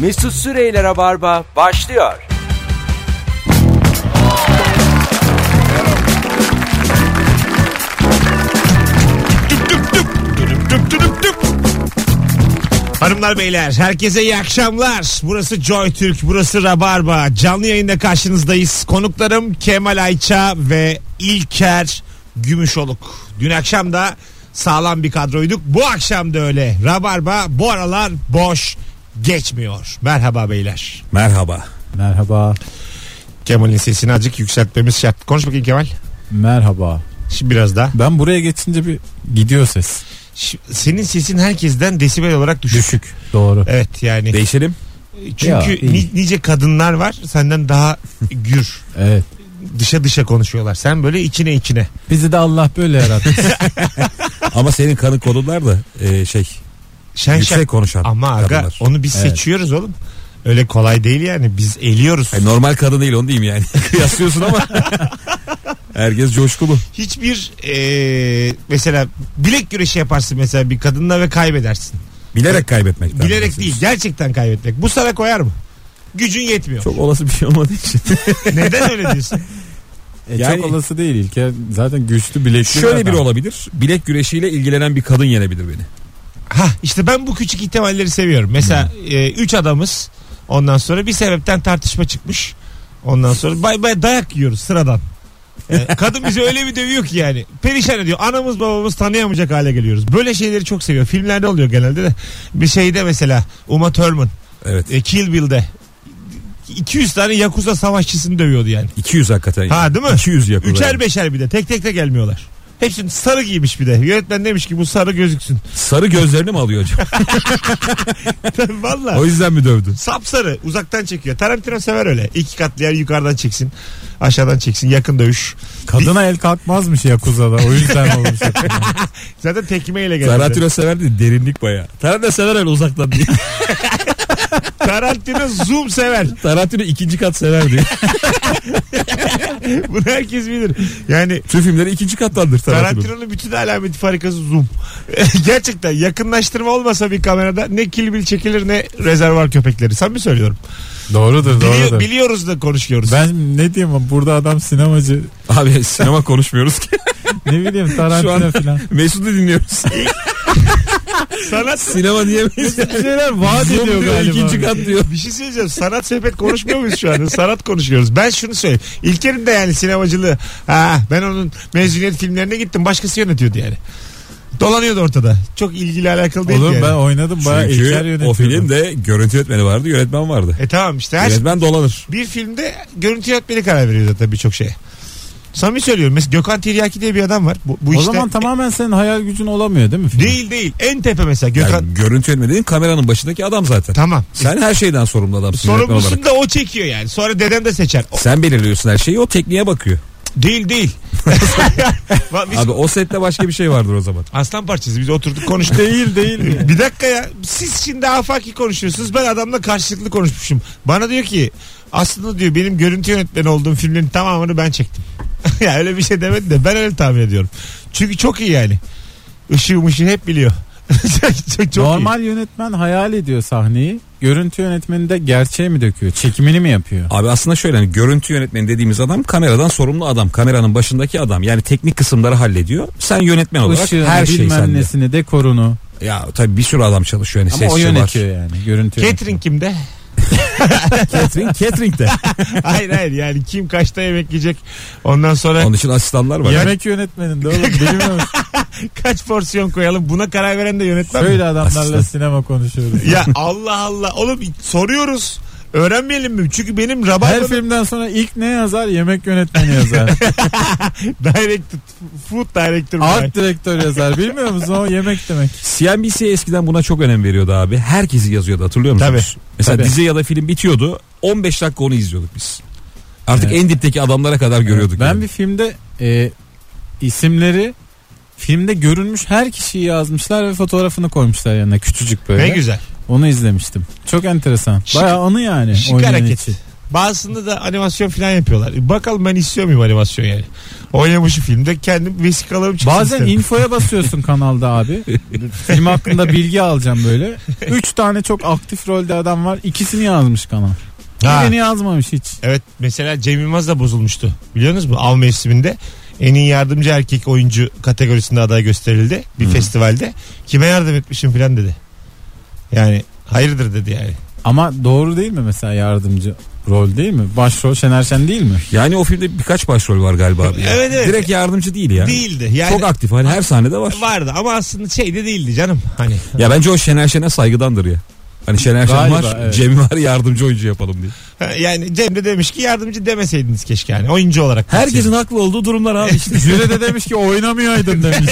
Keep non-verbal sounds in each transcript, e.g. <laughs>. Mesut Süreyler'e barba başlıyor. Düp düp düp. Düdüp düp düdüp düp. Hanımlar beyler herkese iyi akşamlar. Burası Joy Türk, burası Rabarba. Canlı yayında karşınızdayız. Konuklarım Kemal Ayça ve İlker Gümüşoluk. Dün akşam da sağlam bir kadroyduk. Bu akşam da öyle. Rabarba bu aralar boş geçmiyor. Merhaba beyler. Merhaba. Merhaba. Kemal'in sesini azıcık yükseltmemiz şart. Konuş bakayım Kemal. Merhaba. Şimdi biraz daha. Ben buraya geçince bir gidiyor ses. Şi- Senin sesin herkesten desibel olarak düşük. Düşük. Doğru. Evet yani. Değişelim. Çünkü Ya, iyi. ni- nice kadınlar var senden daha gür. Evet. Dışa dışa konuşuyorlar. Sen böyle içine içine. Bizi de Allah böyle yarattı. <laughs> Ama senin kanın kodunlar da e, şey Şen yüksek şak. konuşan Ama aga kadınlar. onu biz Evet. seçiyoruz oğlum. Öyle kolay değil yani. Biz eliyoruz. Hayır, e, normal kadın değil onu diyeyim yani. <laughs> Kıyaslıyorsun ama. <laughs> Herkes coşkulu. Hiçbir eee, mesela bilek güreşi yaparsın mesela bir kadınla ve kaybedersin. Bilerek kaybetmekten. Bilerek bahsediyorsun. değil gerçekten kaybetmek. Bu sana koyar mı? Gücün yetmiyor. Çok olası bir şey olmadığı için. Neden öyle diyorsun? <laughs> E, Yani- çok olası değil İlker. Zaten güçlü bilekli Şöyle adam. biri olabilir. Bilek güreşiyle ilgilenen bir kadın yenebilir beni. Ha işte ben bu küçük ihtimalleri seviyorum. Mesela 3 üç adamız ondan sonra bir sebepten tartışma çıkmış. Ondan sonra bay bay dayak yiyoruz sıradan. E, kadın bizi öyle bir dövüyor ki yani. Perişan ediyor. Anamız babamız tanıyamayacak hale geliyoruz. Böyle şeyleri çok seviyor. Filmlerde oluyor genelde de. Bir şeyde mesela Uma Thurman Evet. e, Kill Bill'de 200 tane Yakuza savaşçısını dövüyordu yani. 200 hakikaten. Ha, değil mi? 200 yapıyorlar. Üçer beşer bir de tek tek de gelmiyorlar. Hepsini sarı giymiş bir de. Yönetmen demiş ki bu sarı gözüksün. <laughs> Sarı gözlerini mi alıyor acaba? Vallahi. o yüzden mi dövdün? Sapsarı uzaktan çekiyor. Tarantino sever öyle. İki katlı yer yukarıdan çeksin. Aşağıdan çeksin. Yakın dövüş. Kadına el kalkmazmış Yakuza'da. O yüzden olmuş. Zaten tekmeyle geldi. Tarantino. <laughs> Tarantino severdi derinlik bayağı. Tarantino sever öyle uzaktan diye. zoom sever. <laughs> Tarantino ikinci kat severdi. Bunu herkes bilir. Yani Tüm filmleri ikinci kattandır Tarantino. Tarantino'nun bütün alameti farikası zoom. <laughs> Gerçekten yakınlaştırma olmasa bir kamerada ne kilbil çekilir ne rezervar köpekleri. Sen mi söylüyorum? doğrudur Bili- doğrudur. biliyoruz da konuşuyoruz. ben ne diyeyim ama burada adam sinemacı Abi sinema konuşmuyoruz ki. <laughs> ne bileyim Tarantino filan. Mesut'u dinliyoruz. Sanat Sinema diyemeyiz. Bir şeyler vaat Zom ediyor diyor, galiba. ikinci kat diyor. bir şey söyleyeceğim. Sanat sepet konuşmuyor muyuz şu anda? Sanat konuşuyoruz. Ben şunu söyleyeyim. İlker'in de yani sinemacılığı. Ha, ben onun mezuniyet filmlerine gittim. Başkası yönetiyordu yani. Dolanıyordu ortada. Çok ilgili alakalı değildi Oğlum yani. ben oynadım bayağı İlker Çünkü o yönetiyordu. filmde görüntü yönetmeni vardı, yönetmen vardı. E tamam işte. Her Yönetmen dolanır. bir filmde görüntü yönetmeni karar veriyor zaten birçok şeye. Samimi söylüyorum. Mesela Gökhan Tiryaki diye bir adam var. Bu, bu O işte. zaman tamamen senin hayal gücün olamıyor değil mi? film? Değil değil. En tepe mesela Yani Gökhan. görüntü yönetmeni dediğin kameranın başındaki adam zaten. Tamam. Sen her şeyden sorumlu adamsın yönetmen Sorumlusun olarak. da o çekiyor yani. Sonra dedem de seçer. O- Sen belirliyorsun her şeyi, o tekniğe bakıyor. değil değil. <laughs> Biz Abi o sette başka bir şey vardır o zaman. aslan parçası. Biz oturduk konuştuk. <laughs> Değil değil mi? Bir dakika ya. Siz şimdi afaki konuşuyorsunuz. Ben adamla karşılıklı konuşmuşum. Bana diyor ki aslında diyor benim görüntü yönetmeni olduğum filmlerin tamamını ben çektim. <laughs> ya öyle bir şey demedi de ben öyle tahmin ediyorum. Çünkü çok iyi yani. Işığı mışığı hep biliyor. <laughs> çok, çok iyi. Normal yönetmen hayal ediyor sahneyi. Görüntü yönetmeni de gerçeği mi döküyor? Çekimini mi yapıyor? Abi aslında şöyle hani görüntü yönetmeni dediğimiz adam kameradan sorumlu adam. Kameranın başındaki adam. Yani teknik kısımları hallediyor. Sen yönetmen olarak Işığını, her şey hani bilmem sende. nesini, dekorunu. Ya tabii bir sürü adam çalışıyor. Yani Ama o sesçi yönetiyor yani. Görüntü yönetmeni. Catering kimde? <laughs> var. Catering, catering de. hayır hayır yani kim kaçta yemek yiyecek ondan sonra Onun için asistanlar var. <laughs> Yemek yönetmeninde oğlum <laughs> bilmiyor musun? <laughs> kaç porsiyon koyalım buna karar veren de yönetmen mi? Böyle adamlarla Asistan. <laughs> sinema konuşuyoruz. Ya Allah Allah oğlum soruyoruz öğrenmeyelim mi? Çünkü benim Her rabarbanın filmden sonra ilk ne yazar? Yemek <laughs> yönetmeni yazar. director, food director. Art direktör yazar. Bilmiyor musun? O yemek demek. CNBC eskiden buna çok önem veriyordu abi. Herkesi yazıyordu hatırlıyor musunuz? Tabii. Mesela Tabii. dizi ya da film bitiyordu. 15 dakika onu izliyorduk biz. Artık en dipteki adamlara kadar görüyorduk. Ben yani. bir filmde e, isimleri filmde görünmüş her kişiyi yazmışlar ve fotoğrafını koymuşlar yanına küçücük böyle. Ne güzel. Onu izlemiştim. Çok enteresan. Şık- Bayağı onu yani. Şık oynayan hareket. için. Bazısında da animasyon falan yapıyorlar. E, Bakalım ben istiyor muyum animasyon yani. Oynamışım filmde kendim vesikalarım çıksın Bazen isterim. infoya basıyorsun <laughs> kanalda abi. Film hakkında bilgi alacağım böyle. Üç tane çok aktif rolde adam var. İkisini yazmış kanal. Ha. Birini yazmamış hiç. Evet mesela Cem Yılmaz da bozulmuştu. Biliyorsunuz mu? Av mevsiminde en iyi yardımcı erkek oyuncu kategorisinde aday gösterildi bir Hmm. festivalde. Kime yardım etmişim filan dedi. Yani hayırdır dedi yani. Ama doğru değil mi mesela yardımcı rol değil mi? Başrol Şener Şen değil mi? Yani o filmde birkaç başrol var galiba abi. ya. Evet, evet. Direkt yardımcı değil yani. Değildi. Yani Çok aktif hani her sahnede var. vardı ama aslında şey de değildi canım. Hani Ya bence o Şener Şen'e saygıdandır ya. Hani Şener Şen Galiba, var, evet. Cem var yardımcı oyuncu yapalım diye. yani Cem de demiş ki yardımcı demeseydiniz keşke yani oyuncu olarak. Herkesin haklı olduğu durumlar abi işte. <laughs> Jüri de demiş ki <laughs> oynamayaydın demiş.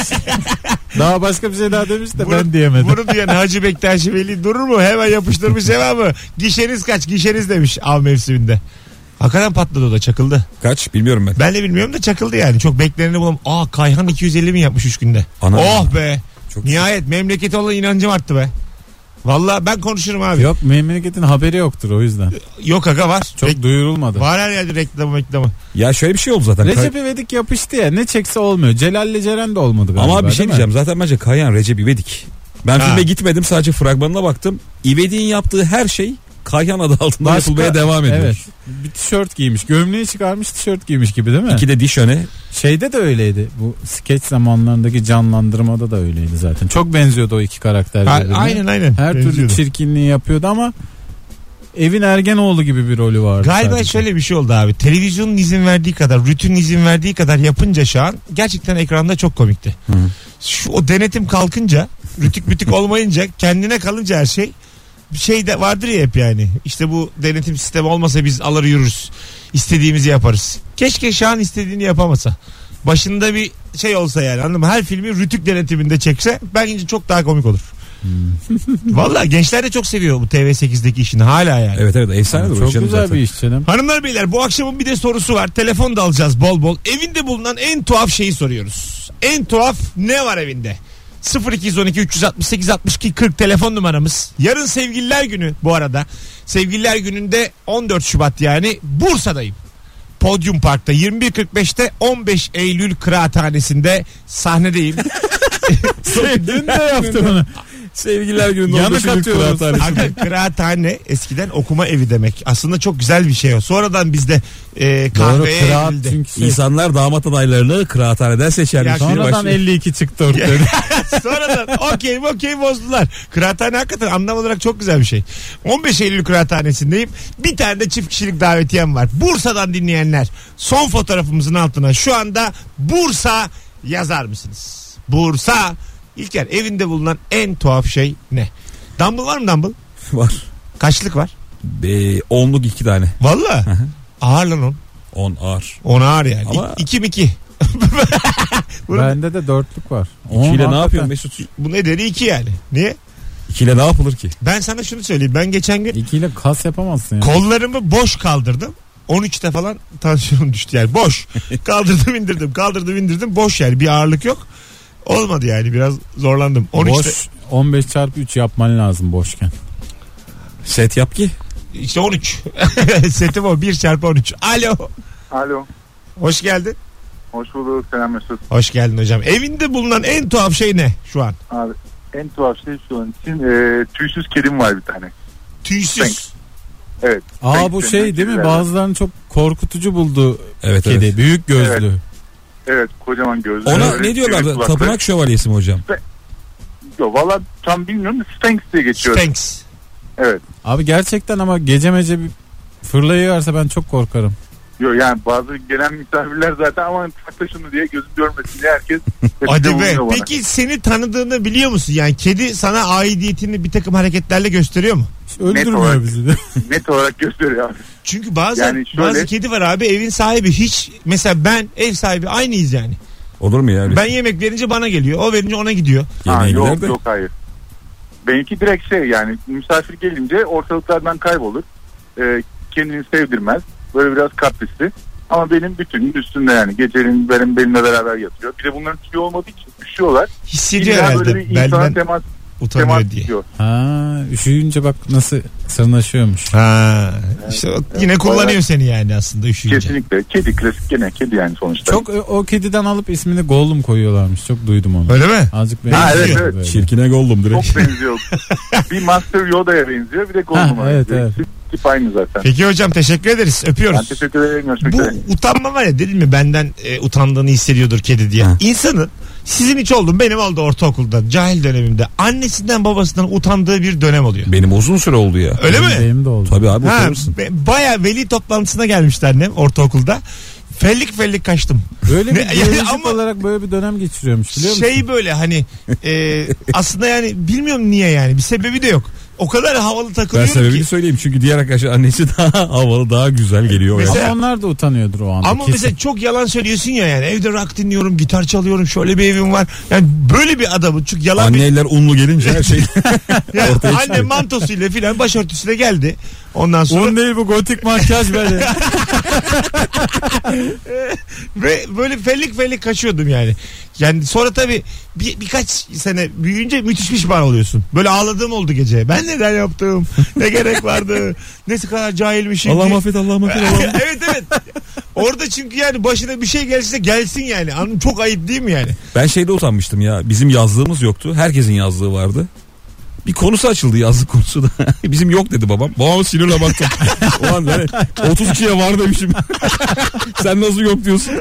daha başka bir şey daha demiş de ben diyemedim. Bunu diyen Hacı Bektaşi Veli durur mu? Hemen yapıştırmış mı? Gişeniz kaç gişeniz demiş av mevsiminde. Hakikaten patladı o da çakıldı. Kaç bilmiyorum ben. Ben de bilmiyorum da çakıldı yani. Çok bekleneni bulam. Aa Kayhan 250 mi yapmış 3 günde? Ana. oh be. Çok Nihayet memlekete olan inancım arttı be. Valla ben konuşurum abi. Yok, Yok memleketin haberi yoktur o yüzden. aga var. Çok Bek- duyurulmadı. var her yerde reklamı reklamı. Ya şöyle bir şey oldu zaten. Recep İvedik yapıştı ya ne çekse olmuyor. Celal'le Ceren de olmadı galiba. Ama bir değil şey mi? diyeceğim. Zaten bence Kayan Recep İvedik. Ben Ha. filme gitmedim sadece fragmanına baktım. İvedik'in yaptığı her şey Kayan adı altında Başka- yapılmaya devam ediyor. Evet. Bir tişört giymiş. Gömleği çıkarmış tişört giymiş gibi değil mi? İki de diş öne. Şeyde de öyleydi. Bu skeç zamanlarındaki canlandırmada da öyleydi zaten. Çok benziyordu o iki karakter A- birbirine. aynen aynen. Her türlü Benziyordu. çirkinliği yapıyordu ama evin Ergenoğlu gibi bir rolü vardı. Galiba sadece. şöyle bir şey oldu abi. Televizyonun izin verdiği kadar, rütün izin verdiği kadar yapınca şu an gerçekten ekranda çok komikti. Hı. Şu o denetim kalkınca, rütük bütük olmayınca, kendine kalınca her şey bir şey de vardır ya hep yani. İşte bu denetim sistemi olmasa biz alır yürürüz. İstediğimizi yaparız. Keşke şu an istediğini yapamasa. Başında bir şey olsa yani anladın mı? Her filmi rütük denetiminde çekse bence çok daha komik olur. Valla gençler de çok seviyor bu TV8'deki işini hala yani. Evet evet efsane de Çok güzel bir <laughs> iş canım. Hanımlar beyler bu akşamın bir de sorusu var. Telefon da alacağız bol bol. Evinde bulunan en tuhaf şeyi soruyoruz. En tuhaf ne var evinde? 0212 368 62 40 telefon numaramız. Yarın sevgililer günü bu arada. Sevgililer gününde 14 Şubat yani Bursa'dayım. Podyum Park'ta 21.45'te 15 Eylül Kıraathanesi'nde sahnedeyim. <laughs> Dün de yaptı bunu. Sevgililer gününde Yanık orada şimdi atıyoruz. kıraathane. Abi kıraathane eskiden okuma evi demek. Aslında çok güzel bir şey o. Sonradan bizde e, <laughs> Doğru kahveye kıraat evrildi. çünkü şey- İnsanlar damat adaylarını kıraathaneden Ya seçermiş. Sonradan Başlıyor. 52 <laughs> çıktı ortaya. <laughs> Sonradan okey okey bozdular. Kıraathane hakikaten anlam olarak çok güzel bir şey. 15 Eylül kıraathanesindeyim. Bir tane de çift kişilik davetiyem var. Bursa'dan dinleyenler son fotoğrafımızın altına şu anda Bursa yazar mısınız? Bursa. İlker evinde bulunan en tuhaf şey ne? Dumble var mı dumble? var. Kaçlık var? Be, onluk iki tane. Valla. Ağır lan on. On ağır. On ağır yani. Ama- İ- iki mi iki? Bunun- Bende de dörtlük var. On İkiyle ne hakikaten. yapıyorsun Mesut? Bu nedeni iki yani. Niye? İkiyle ne yapılır ki? Ben sana şunu söyleyeyim. Ben geçen gün İkiyle kas yapamazsın ya. Kollarımı boş kaldırdım. 13'te falan tansiyonum düştü yani boş. Kaldırdım indirdim kaldırdım indirdim boş yani bir ağırlık yok. Olmadı yani biraz zorlandım. 13'te Boş 15 çarpı 3 yapman lazım boşken. Set yap ki. işte 13. <laughs> Setim o 1 çarpı 13. Alo. Alo. Hoş geldin. Hoş bulduk. Selam Mesut. Hoş geldin hocam. Evinde bulunan en tuhaf şey ne şu an? Abi en tuhaf şey şu an için e, tüysüz kedim var bir tane. Tüysüz. Evet. Aa Thanks, bu thanks, şey thanks, değil mi? güzel. Bazılarını çok korkutucu buldu Evet kedi. evet. Büyük gözlü. Evet kocaman gözlü. Ona Evet, ne diyorlardı? evet, kulakları. Tapınak şövalyesi mi hocam? Yo, Valla tam bilmiyorum. da Sphinx diye geçiyor. Thanks. Evet. Abi gerçekten ama gece mece bir fırlayıverse ben çok korkarım. Yo, yani bazı gelen misafirler zaten aman takla şunu diye gözüm görmesin diye herkes. hepsi Hadi be. vuruyor bana. Peki seni tanıdığını biliyor musun? Yani kedi sana aidiyetini bir takım hareketlerle gösteriyor mu? Öldürmüyor olarak. bizi de. <laughs> Net olarak gösteriyor abi. Çünkü bazen Yani şöyle- bazı kedi var abi evin sahibi hiç mesela ben ev sahibi aynıyız yani. Olur mu yani? Ben yemek verince bana geliyor. O verince ona gidiyor. Ha, Yemeğe yok gider de. yok hayır. Benimki direkt şey yani misafir gelince ortalıklardan kaybolur. Ee, kendini sevdirmez. Böyle biraz kaprisli. Ama benim bütünün üstünde yani gecenin benim benimle beraber yatıyor. Bir de bunların tüyü olmadığı için üşüyorlar. Hissediyor İlla böyle herhalde. bir insana Belden temas utanıyor temas diye. diyor. Ha, üşüyünce bak nasıl sırnaşıyormuş. Ha, işte o yine kullanıyor seni yani aslında üşüyünce. Kesinlikle. Kedi klasik gene kedi yani sonuçta. Çok o o kediden alıp ismini Gollum koyuyorlarmış. Çok duydum onu. Öyle mi? Azıcık Ha, benziyor evet, evet. böyle. Çirkine gollum direkt. <laughs> Çok benziyor. bir Master Yoda'ya benziyor bir de Gollum'a Ha, evet, benziyor. evet. Şey Tip, tip aynı zaten. Peki hocam teşekkür ederiz. Ben Öpüyoruz. teşekkür ederim. Görüşmek Bu üzere. utanma var ya dedim mi benden e, utandığını hissediyordur kedi diye. Ha. İnsanın sizin hiç oldum benim oldu ortaokulda cahil dönemimde annesinden babasından utandığı bir dönem oluyor. <laughs> Benim uzun süre oldu ya. Öyle mi? Benim de oldu. Tabii abi Ha, oturursun. be- baya veli toplantısına gelmişti annem ortaokulda. Fellik fellik kaçtım. Ne- <laughs> Böyle bir yani biyolojik ama- olarak böyle bir dönem geçiriyormuş biliyor musun? Şey böyle hani e, aslında yani bilmiyorum niye yani bir sebebi de yok. O kadar havalı Ben takılıyorum sebebini ki. söyleyeyim çünkü diğer arkadaşın annesi daha <laughs> havalı daha güzel geliyor. Mesela- ya. Ama onlar da utanıyordur o anda. Ama kesin. mesela çok yalan söylüyorsun ya yani evde rock dinliyorum, gitar çalıyorum, şöyle bir evim var. Yani böyle bir adamın çünkü yalan bir Anneler unlu gelince her şey. Yani Ortaya anne çıkıyor. mantosuyla filan başörtüsüyle geldi. Ondan sonra Onun değil bu gotik <laughs> makyaj böyle. ve böyle fellik fellik kaçıyordum yani. Yani sonra tabii bir, birkaç sene büyüyünce müthiş pişman oluyorsun. Böyle ağladığım oldu gece. Ben neden yaptım? Ne gerek vardı? Ne kadar cahilmişim. Allah diye. <laughs> affet Allah affet Allah evet evet. Orada çünkü yani başına bir şey gelse gelsin yani. Anım çok ayıp değil mi yani? Ben şeyde utanmıştım ya. Bizim yazlığımız yoktu. Herkesin yazlığı vardı. Bir konusu açıldı yazlık konusu da. <laughs> Bizim yok dedi babam. Babam sinirle baktım. Ulan ben 32'ye var demişim. <laughs> Sen nasıl yok diyorsun?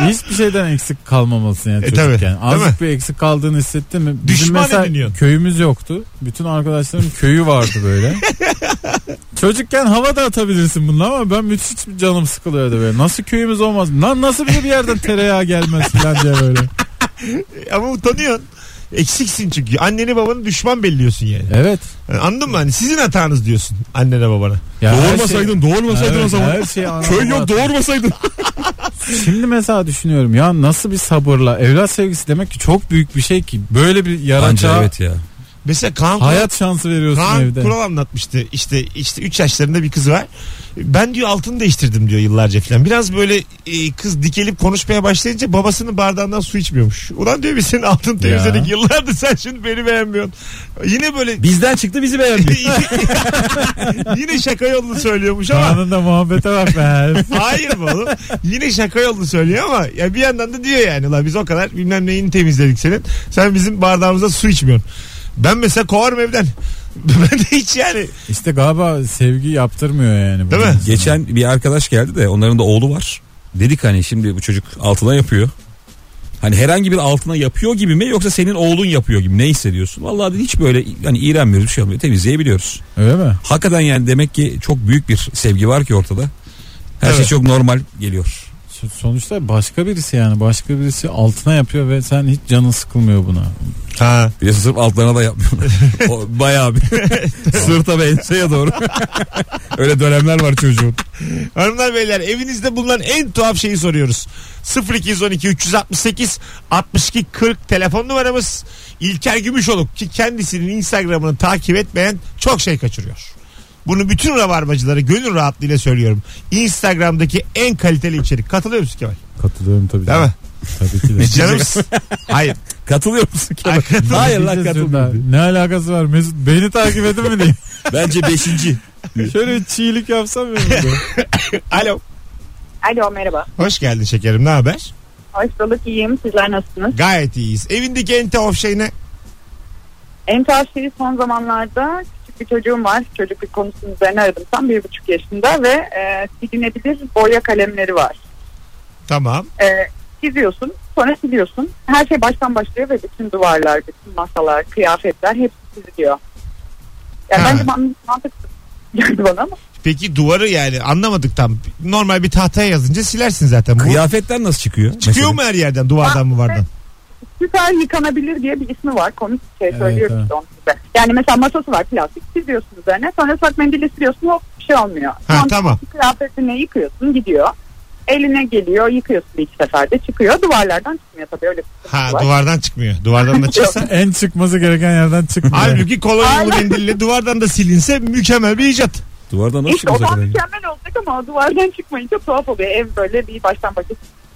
Hiçbir şeyden eksik kalmamalısın yani E, çocukken. tabii. Değil Azıcık bir eksik kaldığını hissettin mi? Bizim Düşman mesela ediniyorsun. köyümüz yoktu. Bütün arkadaşlarım köyü vardı <laughs> böyle. çocukken hava da atabilirsin bununla ama ben müthiş bir canım sıkılıyordu böyle. Nasıl köyümüz olmaz? Lan nasıl bir bir yerden tereyağı gelmez falan diye böyle. E, Ama utanıyorsun. Eksiksin çünkü. Anneni babanı düşman belliyorsun yani. Evet. Yani Anladın mı? Hani sizin hatanız diyorsun annene babana. Ya her şey, doğurmasaydın Evet, her şey Köy yok doğurmasaydın. Şimdi mesela düşünüyorum ya nasıl bir sabırla evlat sevgisi demek ki çok büyük bir şey ki böyle bir Anca yaratığa evet ya. Mesela Kaan Kural- hayat şansı veriyorsun Kaan evde. Kural anlatmıştı. İşte işte 3 yaşlarında bir kız var. Ben diyor altını değiştirdim diyor yıllarca falan. Biraz böyle e, kız dikelip konuşmaya başlayınca babasının bardağından su içmiyormuş. Ulan diyor biz senin altını temizledik yıllardır sen şimdi beni beğenmiyorsun. Yine böyle Bizden çıktı bizi beğendi. <laughs> yine şaka yolunu söylüyormuş ama Kaan'ın da muhabbete bak be. hayır be oğlum. Yine şaka yolunu söylüyor ama ya bir yandan da diyor yani la biz o kadar bilmem neyini temizledik senin. Sen bizim bardağımıza su içmiyorsun. Ben mesela kovarım evden. <laughs> Ben de hiç yani. <laughs> İşte galiba sevgi yaptırmıyor yani. bu Değil mi? insan. Geçen bir arkadaş geldi de onların da oğlu var. Dedik hani şimdi bu çocuk altına yapıyor. Hani herhangi bir altına yapıyor gibi mi yoksa senin oğlun yapıyor gibi mi? ne hissediyorsun? Vallahi dedi, hiç böyle hani iğrenmiyoruz bir şey olmuyor temizleyebiliyoruz. Öyle mi? Hakikaten yani demek ki çok büyük bir sevgi var ki ortada. Her şey Evet. çok normal geliyor. So- Sonuçta başka birisi yani başka birisi altına yapıyor ve sen hiç canın sıkılmıyor buna. Ha. Bir de sırf altlarına da yapmıyorlar. O bayağı bir <laughs> sırta ve enseye doğru. <laughs> Öyle dönemler var çocuğun. Hanımlar beyler evinizde bulunan en tuhaf şeyi soruyoruz. 0212 368 62 40 telefon numaramız. İlker Gümüşoluk ki kendisinin Instagram'ını takip etmeyen çok şey kaçırıyor. Bunu bütün rabarbacılara gönül rahatlığıyla söylüyorum. Instagram'daki en kaliteli içerik. Katılıyor musun Kemal? Katılıyorum tabii. Değil mi? Tabii ki de. Canımız. <laughs> Hayır. Katılıyor musun? ki? Ay, katıl- Hayır lan Diyeceğiz katılmıyor. şurada, Ne alakası var Mesut beni takip edin mi diye. Bence beşinci. Şöyle bir çiğlik yapsam <laughs> ya burada. <laughs> Alo. Alo merhaba. Hoş geldin şekerim. Ne haber? Hoş bulduk iyiyim. Sizler nasılsınız? Gayet iyiyiz. Evindeki en tuhaf şey ne? En tavsiyeyi son zamanlarda küçük bir çocuğum var. Çocukluk konusunun üzerine aradım. Tam bir buçuk yaşında ve e, silinebilir boya kalemleri var. Tamam. E, çiziyorsun sonra siliyorsun. Her şey baştan başlıyor ve bütün duvarlar, bütün masalar, kıyafetler hepsi çiziliyor. Yani Ha. bence man- mantıksız geldi bana ama. Peki duvarı yani anlamadık tam. Normal bir tahtaya yazınca silersin zaten. Bu- Kıyafetler nasıl çıkıyor? Çıkıyor Mesela? mu her yerden duvardan mı vardan? Süper yıkanabilir diye bir ismi var. Komik bir şey Evet, söylüyorum evet. işte onu size. Yani mesela masası var plastik çiziyorsun üzerine. Sonra ıslak mendille siliyorsun hop bir şey olmuyor. Ha Sonra tamam. kıyafetini yıkıyorsun gidiyor. Eline geliyor yıkıyorsun bir iki seferde çıkıyor. Duvarlardan çıkmıyor tabii öyle bir Ha sıkıntı var. duvardan çıkmıyor. Duvardan da <laughs> çıksa. en çıkması gereken yerden çıkmıyor. Halbuki kolonyalı Aynen. mendille duvardan da silinse mükemmel bir icat. Duvardan nasıl İşte o çıkacak? zaman mükemmel olacak ama o duvardan çıkmayınca tuhaf oluyor. Ev böyle bir baştan başa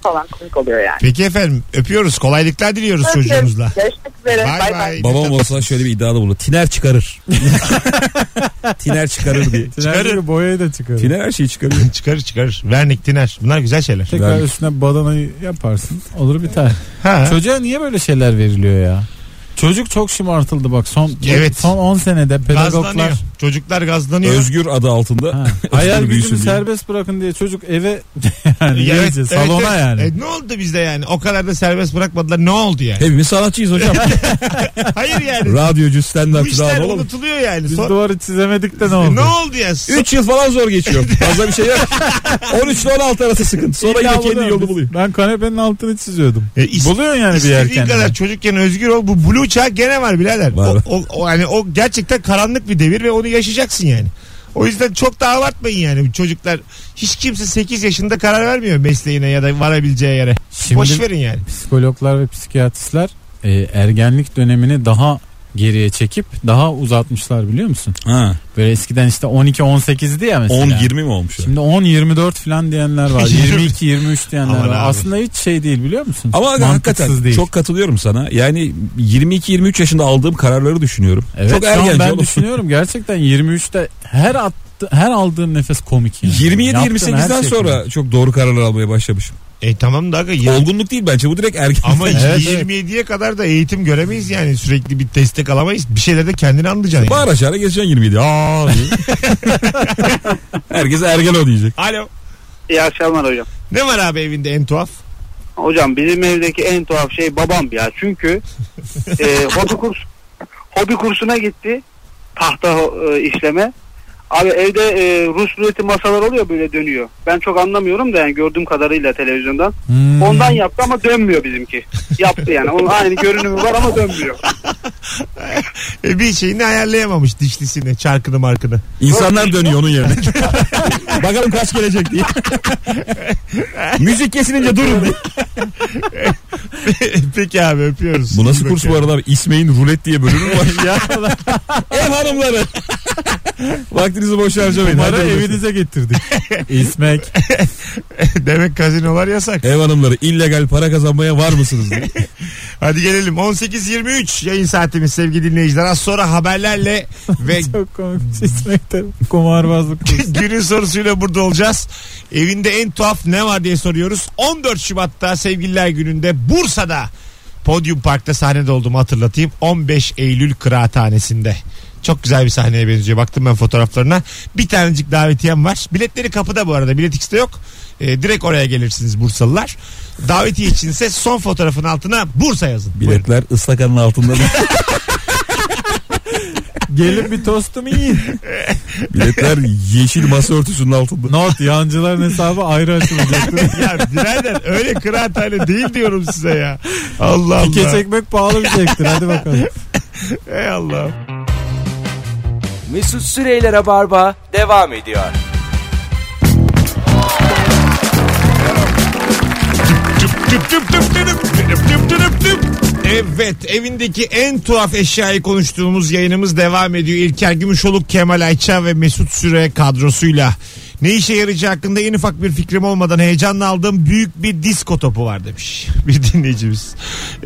falan komik oluyor yani. Peki efendim öpüyoruz. Kolaylıklar diliyoruz çocuğumuzla. Görüşmek üzere. Bay Bay bay. bay. Babam olsa şöyle bir iddiada bulunur. Tiner çıkarır. <laughs> Tiner çıkarır diye. Tiner boyayı da çıkarır. Tiner her şeyi çıkarıyor. çıkarır çıkarır. Vernik, tiner. Bunlar güzel şeyler. Tekrar Vermiş. üstüne badanayı yaparsın. Olur biter. Ha. Çocuğa niye böyle şeyler veriliyor ya? Çocuk çok şımartıldı bak son Evet. son 10 senede pedagoglar Gazlanıyor. Çocuklar gazlanıyor. Özgür adı altında. <laughs> Ha, hayal <laughs> Özgür büyüsün gücünü diye. serbest bırakın diye çocuk eve yani Evet, iyice evet, salona evet. yani. E, ne oldu bizde yani? O kadar da serbest bırakmadılar. Ne oldu <laughs> yani? Hepimiz sanatçıyız <laughs> hocam. Hayır yani. Radyocu, Bu stand-upçı işler daha oğlum. unutuluyor yani. Biz Son- duvarı çizemedik de ne Ne oldu? oldu ya? Son- 3 yıl falan zor geçiyor. Fazla bir şey <laughs> yok. 13 ile 16 arası sıkıntı. Sonra İlla yine kendi bunu- yolunu buluyor. Ben kanepenin altını çiziyordum. E, is- Buluyorsun yani bir yer İstediğin kendine. kadar çocukken özgür ol. Bu blue çağ gene var birader. Var, o, var. o, o- yani o gerçekten karanlık bir devir ve onu yaşayacaksın yani. O yüzden çok da abartmayın yani. Bu Çocuklar hiç kimse 8 yaşında karar vermiyor mesleğine ya da varabileceği yere. Şimdi Boş verin yani. psikologlar ve psikiyatristler e, ergenlik dönemini daha geriye çekip daha uzatmışlar biliyor musun? Ha, Böyle eskiden işte 12-18'di ya mesela. 10-20 mi olmuş? Şimdi 10-24 falan diyenler var. 22-23 diyenler Aman var. abi. Aslında hiç şey değil biliyor musun? Ama Mantıksız hakikaten değil. çok katılıyorum sana. Yani 22-23 yaşında aldığım kararları düşünüyorum. evet, çok şu an ergenci ben oğlum. düşünüyorum gerçekten 23'te her attı, her aldığım nefes komik yani. Yaptığım her 27-28'den şey sonra komik. çok doğru kararlar almaya başlamışım. E tamam da aga. yirmi- Olgunluk değil bence bu direkt ergen. <laughs> Ama Evet, 27'ye kadar da eğitim göremeyiz yani. Sürekli bir destek alamayız. Bir şeylerde kendini anlayacaksın. Yani. Bağır aşağıda geçeceksin 27. Aa <laughs> diye. Herkes ergen o diyecek. Alo. İyi akşamlar hocam. Ne var abi evinde en tuhaf? Hocam bizim evdeki en tuhaf şey babam ya. Çünkü e, hobi kurs hobi kursuna gitti. Tahta e, işleme. Abi evde e, Rus ruleti masalar oluyor böyle dönüyor. Ben çok anlamıyorum da yani gördüğüm kadarıyla televizyondan. Hmm. Ondan yaptı ama dönmüyor bizimki. Yaptı yani. Onun aynı görünümü var ama dönmüyor. E, bir şeyini ayarlayamamış dişlisini, çarkını markını. <laughs> İnsanlar dönüyor onun yerine. <laughs> Bakalım kaç gelecek <laughs> diye. Müzik kesilince durun diye. Peki abi öpüyoruz. Bu nasıl kurs bu arada abi? İsmail'in rulet diye bölümü mü <laughs> var. ya Ev hanımları. Vaktinizi boş harcamayın. para Hadi olsun. evinize getirdik. İsmek. <laughs> Demek kazinolar yasak. Ev hanımları illegal para kazanmaya var mısınız diye. Hadi gelelim 18.23 yayın saatimiz sevgili dinleyiciler. Az sonra <laughs> haberlerle ve Çok komik. <laughs> İsmek'te kumarbazlık. <laughs> günün sorusuyla burada olacağız. Evinde en tuhaf ne var diye soruyoruz. 14 Şubat'ta sevgililer gününde Bursa'da Podium Park'ta sahnede olduğumu hatırlatayım. 15 Eylül Kıraathanesi'nde. Çok güzel bir sahneye benziyor. Baktım ben fotoğraflarına. Bir tanecik davetiyem var. Biletleri kapıda bu arada. Bilet X'te yok. Ee, direkt oraya gelirsiniz Bursalılar. Davetiye içinse son fotoğrafın altına Bursa yazın. Buyurun. Biletler ıslakanın altında. Gelin bir tostumu yiyin. Biletler yeşil masa örtüsünün altında. Not yancıların hesabı ayrı açılacak. <laughs> ya birader öyle kıraathane değil diyorum size ya. Allah Pike Allah. çekmek pahalı bir zevktir. Hadi bakalım. Ey Allah. Mesut Süreyler'e barba devam ediyor. Tüp tüp tüp tüp tüdüp, tüdüp tüp tüdüp tüp. Evet evindeki en tuhaf eşyayı konuştuğumuz yayınımız devam ediyor. İlker Gümüşoluk, Kemal Ayça ve Mesut Süre kadrosuyla. Ne işe yarayacağı hakkında en ufak bir fikrim olmadan heyecanla aldığım büyük bir disko topu var demiş <laughs> bir dinleyicimiz. <laughs>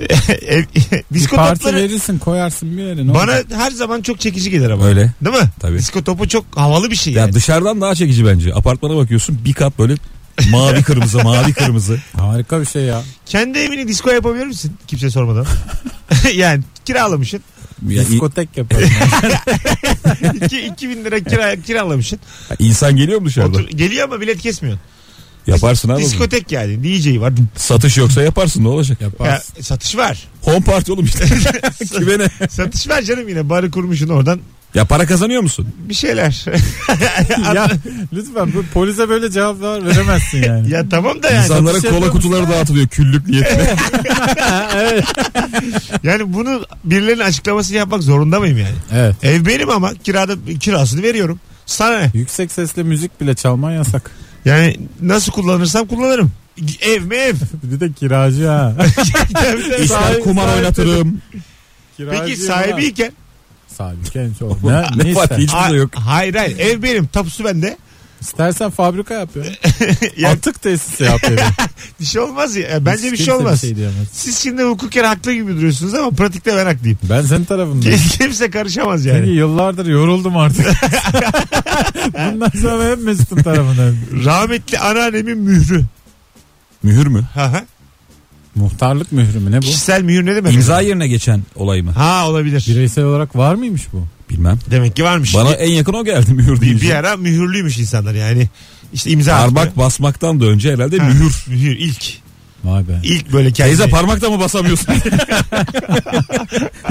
Ev- <laughs> disko Parti topları verirsin koyarsın bir yere. ne bana olacak? her zaman çok çekici gelir ama. Öyle. Değil mi? Tabii. Disko topu çok havalı bir şey. Ya yani. dışarıdan daha çekici bence. Apartmana bakıyorsun bir kat böyle mavi kırmızı mavi kırmızı. Harika bir şey ya. Kendi evini disko yapabilir misin? Kimse sormadan. <laughs> yani kiralamışsın. Ya, i- Diskotek yaparım. İki, 2000 lira kira, kiralamışsın. insan geliyor mu dışarıda? Otur, geliyor ama bilet kesmiyorsun. Yaparsın abi. Diskotek yani. DJ var. Satış yoksa yaparsın ne olacak? Ya, Yaparsın. satış var. Home party oğlum <laughs> işte. Kime ne? Satış var canım yine. Barı kurmuşsun oradan. Ya para kazanıyor musun? Bir şeyler. <laughs> ya lütfen bu polise böyle cevap ver- veremezsin yani. ya tamam da yani. İnsanlara satış kola yapıyor musun? kutuları dağıtılıyor küllük niyetine. Yani bunu birilerinin açıklamasını yapmak zorunda mıyım yani? evet. Ev benim ama kirada kirasını veriyorum. Sana ne? Yüksek sesle müzik bile çalman yasak. Yani nasıl kullanırsam kullanırım. Ev mi ev? <laughs> Bir de kiracı ha. Tabii, tabii. İster Sahi- kumar sahi- oynatırım. Peki sahibiyken Sahibi kendisi o. Ne, ne Ne var ister? hiçbir şey Hayır yok. hayır hayır ev benim tapusu bende. İstersen fabrika yap ya. Ya- Atık tesisi yap evi. Bir şey olmaz ya. Bence bir Kimse şey olmaz. şey diyemez. Siz şimdi hukuken haklı gibi duruyorsunuz ama pratikte ben haklıyım. ben senin tarafındayım. <laughs> Kimse karışamaz Yani. yani. yıllardır yoruldum artık. <laughs> Bundan sonra hep Mesut'un tarafındayım. Rahmetli anneannemin mührü. Mühür mü? Ha Muhtarlık mührü mü ne bu? Kişisel mühür ne demek? İmza yerine geçen olay mı? Ha olabilir. Bireysel olarak var mıymış bu? Bilmem. Demek ki varmış. Bana en yakın o geldi mühür bir, bir deyince. ara mühürlüymüş insanlar yani. İşte imza Parmak basmaktan da önce herhalde Ha, mühür. Mühür ilk. Vay be. İlk böyle kendini. Teyze parmakla mı <laughs> basamıyorsun?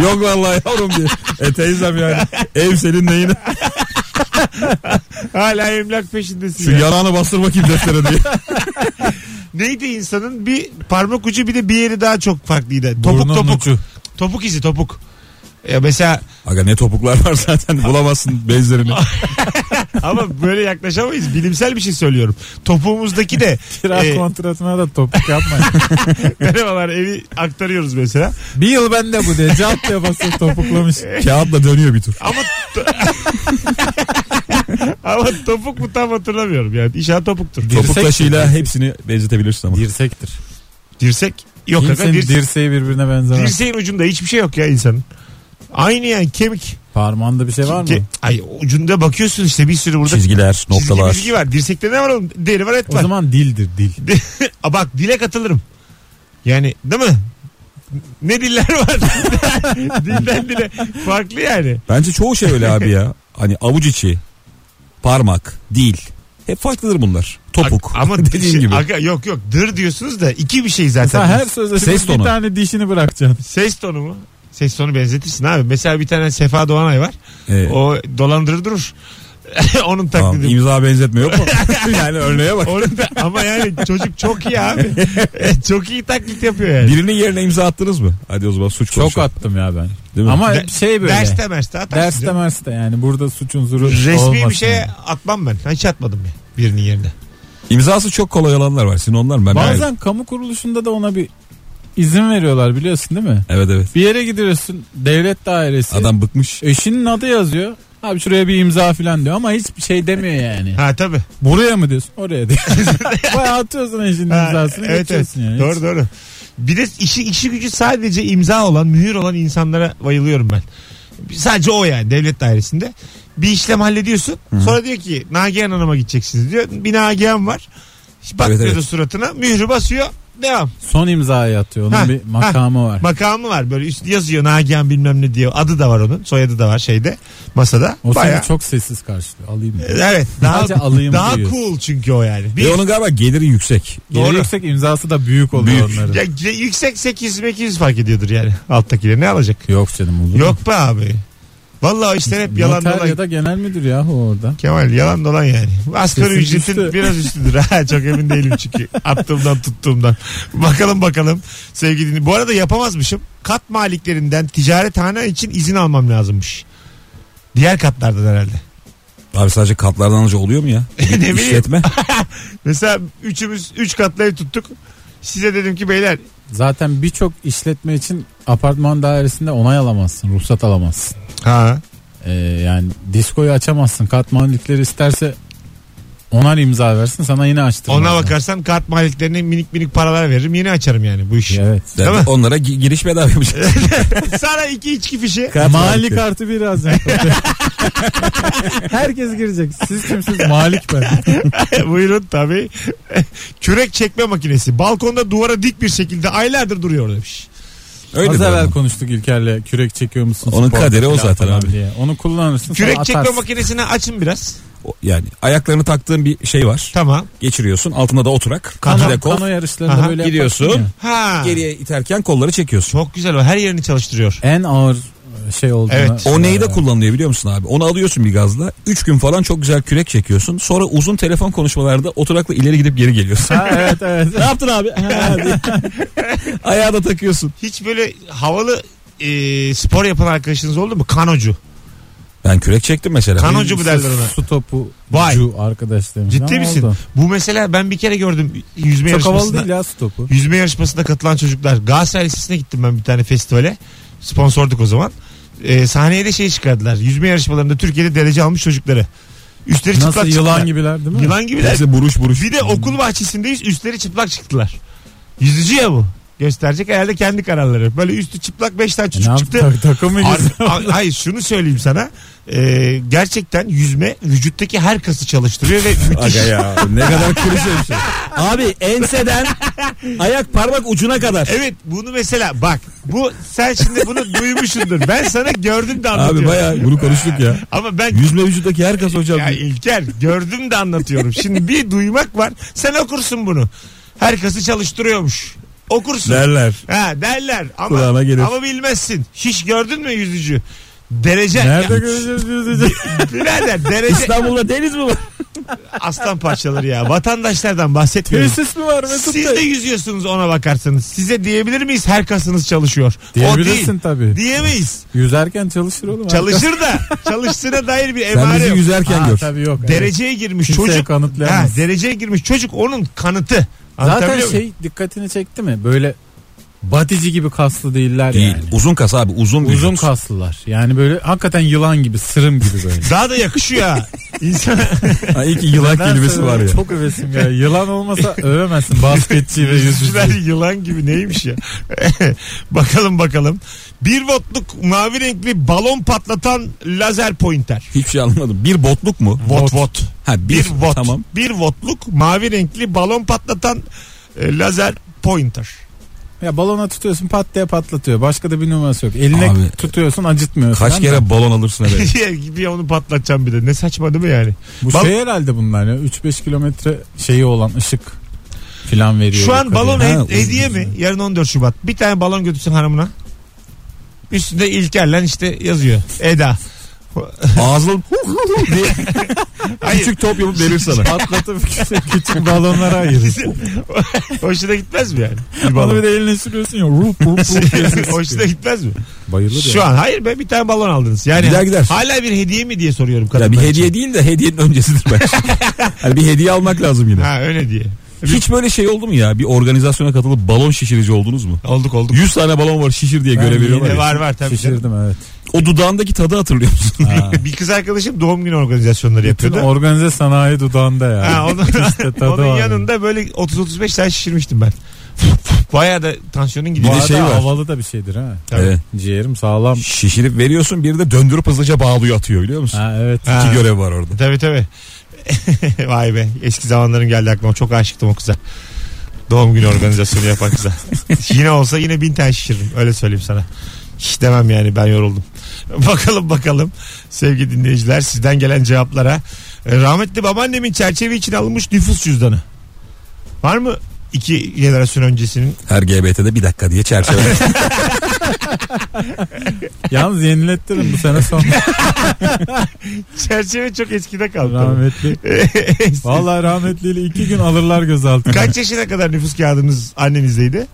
Yok vallahi yavrum diye. E teyzem yani. Ev senin neyine? Hala emlak peşindesin Şu ya. yarağını bastır bakayım deftere diye. Neydi insanın bir parmak ucu bir de bir yeri daha çok farklıydı. Topuk Burnunun topuk. ucu. Topuk izi topuk. Ya mesela Aga ne topuklar var <laughs> zaten bulamazsın benzerini. ama böyle yaklaşamayız. Bilimsel bir şey söylüyorum. Topuğumuzdaki de Kira e, kontratına da topuk yapmayın. <laughs> merhabalar evi aktarıyoruz mesela. bir yıl bende bu diye cevap diye basıp topuklamış. Kağıtla dönüyor bir tur. Ama to- <laughs> ama topuk mu tam hatırlamıyorum yani. İnşallah topuktur. Topuk taşıyla hepsini benzetebilirsin ama. Dirsektir. Dirsek yok Kimsenin aga dirsek. dirseği birbirine benzemez. Dirseğin ucunda hiçbir şey yok ya insanın. Aynı yani kemik. Parmağında bir şey var mı? Ke- Ay ucunda bakıyorsun işte bir sürü burada Çizgiler, noktalar. Çizgi bilgi var. Dirsekte ne var oğlum? Deri var et O var. zaman dildir dil. Aa, <laughs> bak dile katılırım. Yani değil mi? Ne diller <laughs> var? Dilden dile. Farklı yani. Bence çoğu şey öyle abi <laughs> ya. Hani avuç içi, parmak, dil. Hep farklıdır bunlar. Topuk. <laughs> A- ama <laughs> şey, dediğin gibi. Aga, yok yok dır diyorsunuz da iki bir şey zaten. Sen her sözleşmede Ses bir tonu. tane dişini bırakacaksın. Ses tonu mu? Ses tonu benzetirsin abi. Mesela bir tane Sefa Doğanay var. Ee, O dolandırır durur. <laughs> Onun tamam, <laughs> taklidi. imza benzetmiyor mu? yani örneğe bak. Onun da- ama yani çocuk çok iyi abi. <laughs> E, çok iyi taklit yapıyor yani. Birinin yerine imza attınız mı? Hadi o zaman suç Çok konuşalım. attım ya ben. Değil mi? Ama De- şey böyle. Derste merste atarsın. Derste canım. merste yani burada suç unsuru Resmi olmasın. bir şey- şeye atmam ben. Hiç atmadım ya birinin yerine. İmzası çok kolay olanlar var. Sizin onlar mı? Ben Bazen kamu kuruluşunda da ona bir izin veriyorlar biliyorsun değil mi? Evet evet. Bir yere gidiyorsun devlet dairesi. Adam bıkmış. Eşinin adı yazıyor. Abi şuraya bir imza filan diyor ama hiçbir şey demiyor yani. Ha tabii. Buraya mı diyorsun? <laughs> Oraya diyor. Bayağı atıyorsun eşinin Ha, imzasını geçiyorsun yani. Doğru doğru. Bir de işi, işi gücü sadece imza olan, mühür olan insanlara bayılıyorum ben. Sadece o yani devlet dairesinde. Bir işlem hallediyorsun. Sonra diyor ki Nagihan Hanım'a gideceksiniz diyor. Bir Nagihan var. Hiç bakmıyor evet. da suratına. Mührü basıyor. Devam. Son imzayı atıyor. Onun Ha, bir makamı var. Makamı var böyle üstü yazıyor Nagihan bilmem ne diye. Adı da var onun. Soyadı da var şeyde masada. O Bayağı. seni çok sessiz karşılıyor. Alayım mı? Evet. Daha, Sadece alayım E daha diyor. cool çünkü o yani. Bir Ve onun galiba geliri yüksek. Geri Doğru. yüksek imzası da büyük oluyor Büyük. onların. Ya, ya yüksek 800 800 fark ediyordur yani alttakiler ne alacak? Yok canım olur. mu? Yok be abi. Vallahi işte hep yalan Noter dolan. ya da genel müdür ya orada. Kemal yalan dolan yani. Asgari Kesin ücretin üstü. biraz üstüdür. Ha, çok emin değilim çünkü. <laughs> Attığımdan tuttuğumdan. Bakalım bakalım sevgili dinley- Bu arada yapamazmışım. Kat maliklerinden ticarethane için izin almam lazımmış. Diğer katlardan herhalde. Abi sadece katlardan önce oluyor mu <laughs> ya? bileyim. İşletme. Mesela üçümüz üç katlı ev tuttuk. Size dedim ki beyler Zaten birçok işletme için apartman dairesinde onay alamazsın, ruhsat alamazsın. ha Ee, yani diskoyu açamazsın. Katmanlikleri isterse onar imza versin sana yine açtırır. ona bakarsan kat maliklerine minik minik paralar veririm yine açarım yani bu işi. Evet. Yani Değil mi? onlara gi- giriş bedava yapacak. <laughs> <laughs> Sana iki içki fişi. Mali kartı biraz. Herkes girecek. Siz kimsiniz? Malik ben. <laughs> Buyurun tabii. Kürek çekme makinesi. Balkonda duvara dik bir şekilde aylardır duruyor demiş. Öyle Az bir evvel adam. konuştuk İlker'le kürek çekiyor musun? Onun Sporda kaderi o falan zaten falan abi. diye. Onu kullanırsın Kürek sonra çekme atarsın. makinesini açın biraz. O- Yani ayaklarını taktığın bir şey var. Tamam. Geçiriyorsun. Altında da oturak. Kano- Kano, Kano yarışlarında Aha, böyle yaparsın giriyorsun. ya. Ha. Geriye iterken kolları çekiyorsun. Çok güzel o. Her yerini çalıştırıyor. En ağır şey olduğuna. Evet. O neyi de kullanılıyor biliyor musun abi? Onu alıyorsun bir gazla. 3 gün falan çok güzel kürek çekiyorsun. Sonra uzun telefon konuşmalarda oturakla ileri gidip geri geliyorsun. Ha, evet evet. ne yaptın abi? Ha, diye. <laughs> Ayağa da takıyorsun. Hiç böyle havalı e, spor yapan arkadaşınız oldu mu? Kanocu. Ben kürek çektim mesela. Kanocu mu derler ona? Su topu Vay. cu arkadaş demiş. Ciddi Ama misin? oldu. Bu mesela ben bir kere gördüm yüzme Çok havalı yarışmasında. değil ya su topu. Yüzme yarışmasında katılan çocuklar. Galatasaray Lisesi'ne gittim ben bir tane festivale. Sponsorduk o zaman. Ee, sahneye de şey çıkardılar. Yüzme yarışmalarında Türkiye'de derece almış çocukları. Üstleri çıplak Nasıl çıktılar. yılan gibiler değil mi? Yılan gibiler. Hepsi buruş buruş. Bir de okul bahçesindeyiz üstleri çıplak çıktılar. Yüzücü ya bu. Gösterecek herhalde kendi kararları. Böyle üstü çıplak 5 tane Ne çocuk yap- çıktı. tak- takım mı Ar- gitsin? a- Hayır şunu söyleyeyim sana. Ee, gerçekten yüzme vücuttaki her kası çalıştırıyor ve müthiş. Aga ya <laughs> ne kadar klişe bir şey. Abi enseden ayak parmak ucuna kadar. Evet bunu mesela bak bu sen şimdi bunu duymuşsundur. Ben sana gördüm de anlatıyorum. Abi baya bunu konuştuk ya. Ama ben Yüzme vücuttaki her kas hocam. ya İlker gördüm de anlatıyorum. Şimdi bir duymak var. Sen okursun bunu. Her kası çalıştırıyormuş. Okursun. Derler. Ha derler ama Kulağına gelir. ama bilmezsin. Hiç gördün mü yüzücü? Derece. Nerede Ya, göreceğiz yüzücü? <laughs> birader, derece İstanbul'da deniz mi var? aslan parçaları ya. Vatandaşlardan bahsetmiyorum. Tesis mi var Mesut Siz de Bey? yüzüyorsunuz ona bakarsanız. Size diyebilir miyiz her kasınız çalışıyor? Diyebilirsin o değil. tabii. Diyemeyiz. Yüzerken çalışır oğlum. Çalışır da çalıştığına dair bir Sen emare bizi yok. yüzerken Ha, gör. tabii yok. evet. Dereceye girmiş Kimseye çocuk. Ha, kanıtlayamaz. dereceye girmiş çocuk onun kanıtı. Zaten Anlatabiliyor muyum? şey dikkatini çekti mi? Böyle badici gibi kaslı değiller Değil. yani. Uzun kas abi uzun bir Uzun vücut. kaslılar. Yani böyle hakikaten yılan gibi, sırım <laughs> gibi böyle. Daha da yakışıyor ha. <laughs> <laughs> İnsan Ha, iyi ki yılan Nedense kelimesi var böyle ya. Çok övesim ya. <laughs> Yılan olmasa övemezsin basketçi ve Yüzücüler yüzücü. yılan gibi neymiş ya. <laughs> bakalım bakalım. Bir votluk mavi renkli balon patlatan lazer pointer. Hiçbir şey anlamadım. Bir botluk mu? Vot vot. Ha bir, Bir vot. Tamam. Bir votluk mavi renkli balon patlatan e, lazer pointer. Ya balona tutuyorsun pat diye patlatıyor. Başka da bir numarası yok. Eline Abi, tutuyorsun acıtmıyorsun. Kaç Ama kere balon alırsın <laughs> eve? <laughs> bir onu patlatacağım bir de. Ne saçma değil mi yani? Bu Bal- şey herhalde bunlar ya. 3-5 kilometre şeyi olan ışık filan veriyor. Şu an balon Kadın. he- Ha, uzun hediye mi? Yarın 14 Şubat. Bir tane balon götürsün hanımına. Üstünde İlker'le işte yazıyor. Eda. <laughs> Ağzın diye Hayır. <laughs> küçük top yapıp verir sana. Patlatıp <laughs> küçük, küçük balonlara ayırır. <laughs> Hoşuna gitmez mi yani? Bir <laughs> Onu balon. bir de eline sürüyorsun ya. <laughs> Rup rup rup diye ses Hoşuna çıkıyor. gitmez mi? Bayılır Şu ya. an hayır be bir tane balon aldınız. Yani Gider gider. hala bir hediye mi diye soruyorum Ya kadınlar bir için. hediye değil de hediyenin öncesidir <laughs> bence. Hani bir hediye almak lazım yine. Ha öyle diye. Hiç böyle şey oldu mu ya? Bir organizasyona katılıp balon şişirici oldunuz mu? Olduk olduk. 100 tane balon var şişir diye Ben görev veriyorlar. Yine ya. var var tabii. canım. Şişirdim evet. O dudağındaki tadı hatırlıyor musun? <laughs> Bir kız arkadaşım doğum günü organizasyonları Bütün yapıyordu. organize sanayi dudağında ya. Ha, onun <laughs> <laughs> İşte tadı onun var. yanında böyle 30-35 tane şişirmiştim ben. Bayağı da tansiyonun Bu gidiyor. arada şey var. havalı da bir şeydir ha. Tabii. Evet. Ciğerim sağlam. Şişirip veriyorsun bir de döndürüp hızlıca bağlıyor atıyor biliyor musun? Ha evet. Ha. İki görev var orada. Tabii tabii. <laughs> Vay be eski zamanların geldi aklıma. Çok aşıktım o kıza. Doğum günü organizasyonu yapan <laughs> kıza. yine olsa yine bin tane şişiririm. Öyle söyleyeyim sana. Hiç demem yani ben yoruldum. <laughs> Bakalım bakalım sevgili dinleyiciler sizden gelen cevaplara. E, Rahmetli babaannemin çerçeve için alınmış nüfus cüzdanı. Var mı iki jenerasyon öncesinin? <laughs> Her GBT'de bir dakika diye çerçeve. Yalnız yenilettirin bu <laughs> sene son Çerçeve çok eskide kaldı. rahmetli. Vallahi rahmetliyle iki gün alırlar gözaltına. Kaç yaşına kadar nüfus kağıdınız annenizdeydi?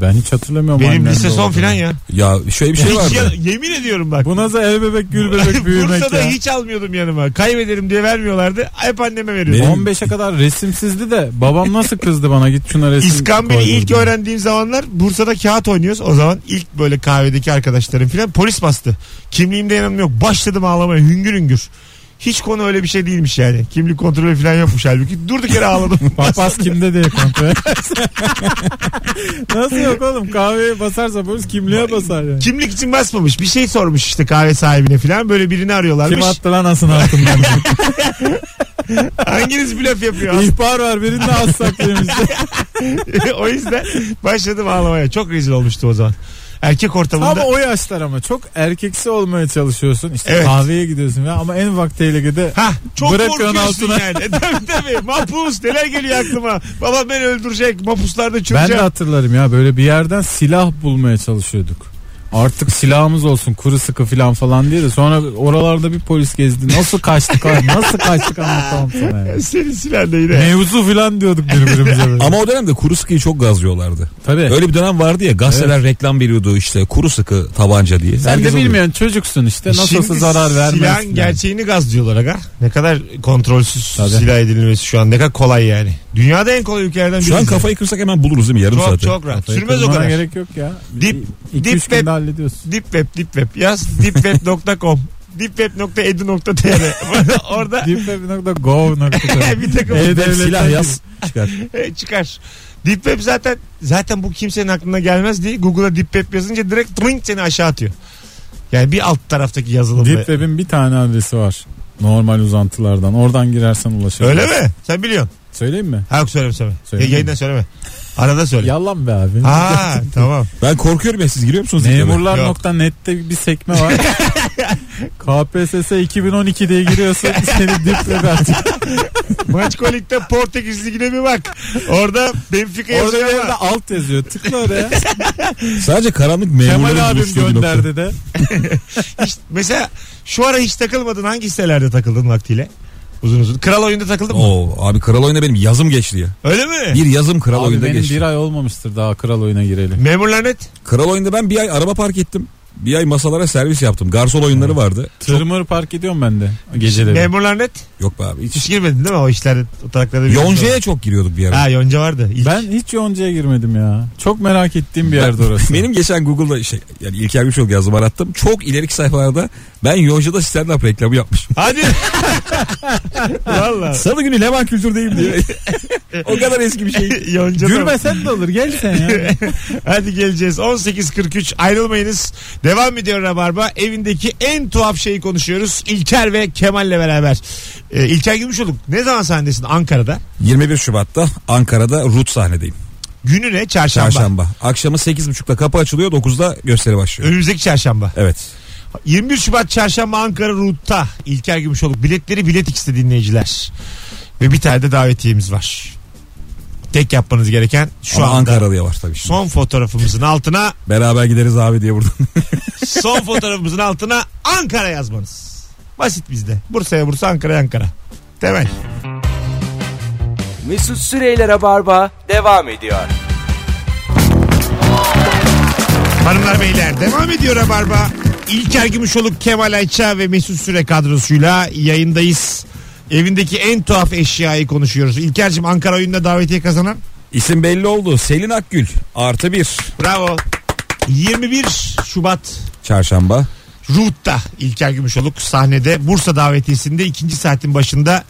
Ben hiç hatırlamıyorum. Benim annemde lise son olduğunu. filan ya. <laughs> ya şöyle bir şey Hiç <laughs> ya- vardı. yemin ediyorum bak. Bu nasıl el bebek <laughs> gül bebek büyümek Bursa'da ya. hiç almiyordum yanıma. Kaybederim diye vermiyorlardı. Hep anneme veriyordum. Benim- 15'e kadar resimsizdi de babam nasıl kızdı bana git şuna resim İskambil'i koy ilk dedi. öğrendiğim zamanlar Bursa'da kağıt oynuyoruz. O zaman ilk böyle kahvedeki arkadaşlarım filan polis bastı. Kimliğimde yanım yok. Başladım ağlamaya hüngür hüngür. Hiç konu öyle bir şey değilmiş yani. Kimlik kontrolü falan yokmuş halbuki. Durduk yere ağladım. Papaz kimde diye kontrol edersin. <laughs> Nasıl yok oğlum kahveye basarsa polis kimliğe basar ya. Kimlik için basmamış. Bir şey sormuş işte kahve sahibine filan. Böyle birini Kim arıyorlarmış. attı lan asın altından? <laughs> Hanginiz blöf <laughs> yapıyor? <laughs> İhbar var birini de az saklayamış. o yüzden başladım ağlamaya. Çok rezil olmuştu o zaman. Erkek ortamında. Ama o yaşlar ama çok erkeksi olmaya çalışıyorsun. İşte Evet. kahveye gidiyorsun ya ama en ufak tehlikede Ha çok Bırak korkuyorsun onu altına. yani. <laughs> E, tabii tabii. Mapus neler geliyor aklıma. Babam beni öldürecek. Mapuslarda ben de çürüyeceğim. hatırlarım ya böyle bir yerden silah bulmaya çalışıyorduk. Artık silahımız olsun kuru sıkı filan falan diye de sonra oralarda bir polis gezdi. Nasıl kaçtık abi nasıl kaçtık anlatamam <laughs> sana <laughs> ya. Senin silahın da yine. Mevzu filan diyorduk birbirimize böyle. Ama o dönemde kuru sıkıyı çok gazlıyorlardı. Tabii. Öyle bir dönem vardı ya gazeteler reklam veriyordu işte kuru sıkı tabanca diye. Sen Herkes de alıyor. bilmiyorsun çocuksun işte nasıl olsa Şimdi zarar vermez. Silahın gerçeğini gaz diyorlar aga. Ne kadar kontrolsüz Tabii. silah edilmesi şu an. Ne kadar kolay yani. Dünyada en kolay ülkelerden biri. Şu an kafayı kırsak hemen buluruz değil mi yarım çok saatte? çok rahat. Sürmez o kadar. gerek yok ya. Dip- İki dip üç günde ve- hallediyorsun. Deep web, deep web. Yaz deepweb.com. <laughs> deepweb.edu.tr Orada Deepweb.gov.tr bir takım E-Devlet'ten silah yaz çıkar. E, çıkar. Deep Web zaten zaten bu kimsenin aklına gelmez diye Google'a Deep Web yazınca direkt tring seni aşağı atıyor. Yani bir alt taraftaki yazılım. Deep Web'in bir tane adresi var. Normal uzantılardan. Oradan girersen ulaşırsın. Öyle mi? Sen biliyorsun. Söyleyeyim mi? Ha yok söyleme söyleme. Ya, Söyleyeyim yayından söyleme. Arada söyle. Yalan be abi. Ha tamam. Ben korkuyorum ya siz giriyor musunuz? Memurlar. Memurlar.net'te bir sekme var. <laughs> KPSS 2012 diye giriyorsun <laughs> seni Deep Web atıyor. Maç Kolik'te Portekiz Ligi'ne bir bak. Orada Benfica Orada bir yazıyor yerde ama. alt yazıyor. Tıkla oraya. Sadece karanlık Kemal memurların abim buluştuğu bir nokta. gönderdi de. Hiç- mesela şu ara hiç takılmadın hangi sitelerde takıldın vaktiyle? Uzun uzun. Kral oyunda takıldın mı? Oo, abi kral oyuna benim yazım geçti ya. Öyle mi? Bir yazım kral Abi oyunda benim geçti. bir ay olmamıştır daha kral oyuna girelim. Memurlar net. Kral oyunda ben bir ay araba park ettim. Bir ay masalara servis yaptım. Garson oyunları vardı. Tırmır park ediyorum ben de geceleri. Memurlar net. Yok be abi. Hiç. Hiç girmedin değil mi o işlerde? O taraklarda bir- Yonca'ya çok giriyorduk bir ara. Ha Yonca vardı. İlk. Ben hiç Yonca'ya girmedim ya. Çok merak ettiğim bir yerde orası. <laughs> Benim geçen Google'da şey yani İlker Gümüşoluk yazdım arattım. Çok ileriki sayfalarda ben Yonca'da stand up reklamı yapmışım. Hadi. <laughs> Valla. Salı günü Levan kültürdeyim <laughs> diye. o kadar eski bir şey. Yonca da- Gülmesen de olur gel sen <laughs> ya. Hadi geleceğiz. 18.43 ayrılmayınız. Devam ediyor Rabarba. Evindeki en tuhaf şeyi konuşuyoruz. İlker ve Kemal'le beraber. Ee, İlker Gümüşoluk ne zaman sahnesin Ankara'da? 21 Şubat'ta Ankara'da Rut sahnedeyim. Günü ne? Çarşamba. Çarşamba. Akşamı 8.30'da kapı açılıyor 9'da gösteri başlıyor. Önümüzdeki çarşamba. Evet. 21 Şubat çarşamba Ankara Root'ta İlker Gümüşoluk. Biletleri Bilet X'te dinleyiciler. Ve bir tane de davetiyemiz var. Tek yapmanız gereken şu Ama anda Ankaralıya var tabii. Şimdi. son fotoğrafımızın altına Beraber gideriz abi diye buradan. <laughs> Son fotoğrafımızın altına Ankara yazmanız. Basit bizde. Bursa'ya Bursa, Ankara'ya Ankara. Temel. Mesut Süreyler'e barba devam ediyor. Hanımlar beyler devam ediyor Rabarba. İlker Gümüşoluk, Kemal Ayça ve Mesut Süre kadrosuyla yayındayız. Evindeki en tuhaf eşyayı konuşuyoruz. İlker'cim Ankara oyununda davetiye kazanan. İsim belli oldu. Selin Akgül artı bir. Bravo. 21 Şubat Çarşamba. Ruh'ta İlker Gümüşoluk sahnede Bursa davetiyesinde ikinci saatin başında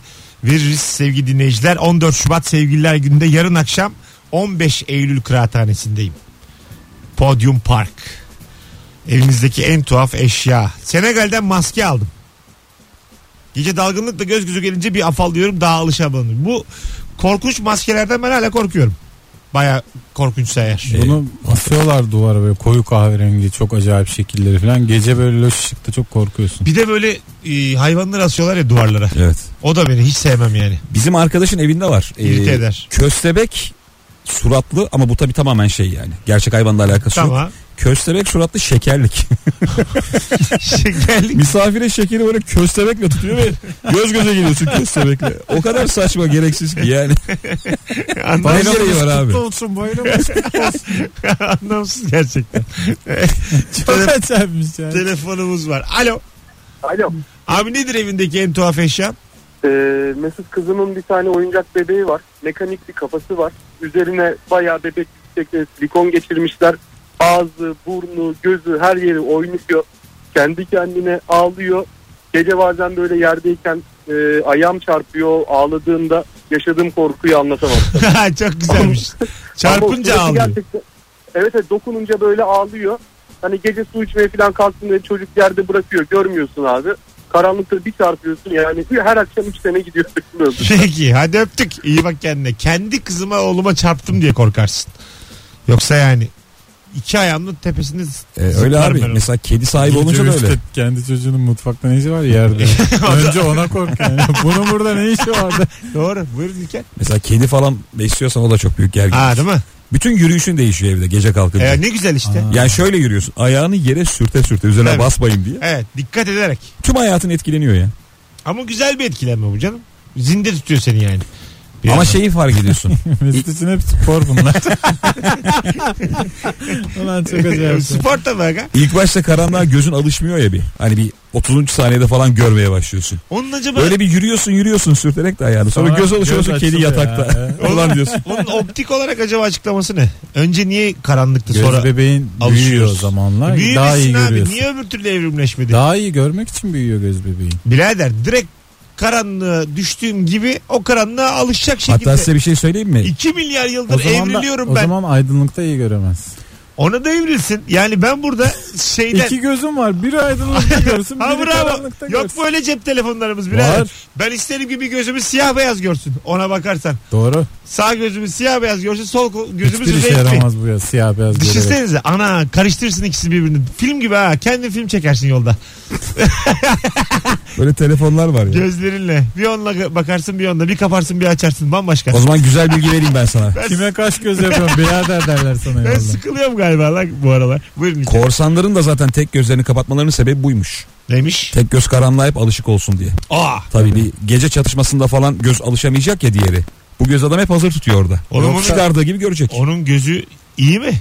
veririz sevgili dinleyiciler. 14 Şubat Sevgililer Günü'nde yarın akşam 15 Eylül Kıraathanesi'ndeyim. Podium Park. Evinizdeki en tuhaf eşya. Senegal'den maske aldım. Gece dalgınlıkla göz gözü gelince bir afallıyorum daha alışamadım. Bu korkunç maskelerden ben hala korkuyorum. Baya korkunçsa eğer. Bunu asıyorlar duvara böyle koyu kahverengi çok acayip şekilleri falan. Gece böyle loş ışıkta çok korkuyorsun. Bir de böyle e, hayvanları asıyorlar ya duvarlara. Evet. O da beni hiç sevmem yani. Bizim arkadaşın evinde var. Ee, İlke eder. Köstebek suratlı ama bu tabii tamamen şey yani. Gerçek hayvanla alakası yok. Tamam. Köstebek suratlı şekerlik. şey <laughs> Şekerlik. Misafire şekeri böyle köstebekle tutuyor ve göz göze geliyorsun köstebekle. O kadar saçma gereksiz ki yani. ne gereği var abi? olsun bayramımız. Anlamsız <laughs> gerçekten. çok acayipmiş yani. Telefonumuz var. Alo. Alo. Abi nedir evindeki en tuhaf eşya? <laughs> Ee, Mesut kızımın bir tane oyuncak bebeği var. Mekanik bir kafası var. Üzerine bayağı bebek yüksekte silikon geçirmişler. Ağzı, burnu, gözü her yeri oynuyor. Kendi kendine ağlıyor. Gece bazen böyle yerdeyken e, ayağım çarpıyor. Ağladığımda yaşadığım korkuyu anlatamam. Ha, Çok güzelmiş. Ama o Çarpınca sırası ağlıyor. gerçekten- Evet evet dokununca böyle ağlıyor. Hani gece su içmeye falan kalktığında çocuk yerde bırakıyor. Görmüyorsun abi. Karanlıkta bir çarpıyorsun yani. Her akşam üç sene gidiyor. <laughs> Peki hadi öptük. İyi bak kendine. Kendi kızıma oğluma çarptım diye korkarsın. Yoksa yani iki ayağımın tepesinde Ee, öyle zıplarım abi. ben onu. Mesela kedi sahibi Gidiyor olunca da işte öyle. Kendi çocuğunun mutfakta ne işi var <laughs> yerde. Önce ona kork yani. Bunun burada ne işi vardı? Doğru. Buyurun İlker. Mesela kedi falan besliyorsan o da çok büyük gergin. Ha değil mi? Bütün yürüyüşün değişiyor evde gece kalkınca. Ee, ne güzel işte. Yani şöyle yürüyorsun. Ayağını yere sürte sürte üzerine Tabii. basmayın diye. Evet dikkat ederek. Tüm hayatın etkileniyor ya. Ama güzel bir etkilenme bu canım. Zinde tutuyor seni yani. Bir Ama şey yandan. şeyi fark ediyorsun. Mesut için hep spor <laughs> bunlar. Ulan çok acayip. Ee, Spor da bak ha. İlk başta karanlığa gözün alışmıyor ya bir. Hani bir 30. saniyede falan görmeye başlıyorsun. Onun acaba Böyle bir yürüyorsun yürüyorsun sürterek de ayağını. Sonra, Sonra göz alışıyorsun göz kedi açılıyor yatakta. <laughs> Ulan diyorsun. onun optik olarak acaba açıklaması ne? Önce niye karanlıktı Göz sonra? bebeğin büyüyor alışıyoruz. o zamanlar. Büyümesin daha iyi abi. görüyorsun. Niye öbür türlü evrimleşmedi? Daha iyi görmek için büyüyor göz bebeğin. Birader direkt karanlığa düştüğüm gibi o karanlığa alışacak şekilde. Hatta size bir şey söyleyeyim mi? 2 milyar O yıldır zaman, da, evriliyorum o ben. zaman aydınlıkta iyi göremez. Ona da evrilsin. Yani ben <laughs> burada şeyden... İki gözüm var. Biri aydınlıkta görsün, Ha biri bravo. karanlıkta Yok görsün. mu öyle cep telefonlarımız birader? Ben isterim gibi gözümü siyah beyaz görsün. Ona bakarsan. Doğru. Sağ gözümü siyah beyaz görsün. Sol ko- gözümüz Hiçbir işe renk. yaramaz bu ya. Siyah beyaz görerek. Düşünsenize ana karıştırırsın ikisi birbirini. Film gibi ha. Kendin film çekersin yolda. Böyle telefonlar var ya. Gözlerinle. Bir onunla bakarsın bir onunla. Bir kaparsın bir açarsın. Bambaşka. O zaman güzel bilgi vereyim ben sana. Kime kaç göz yapıyorum birader derler sana Ben yolda. sıkılıyorum galiba lan bu aralar. Buyurun. lütfen. Korsanların da zaten tek gözlerini kapatmalarının sebebi buymuş. Neymiş? Tek göz karanlığa hep alışık olsun diye. Aa. Tabii bir gece çatışmasında falan göz alışamayacak ya diğeri. Bu göz adam hep hazır tutuyor orada. Oğlum Yok, onu- çıkardığı gibi görecek. Onun gözü iyi mi?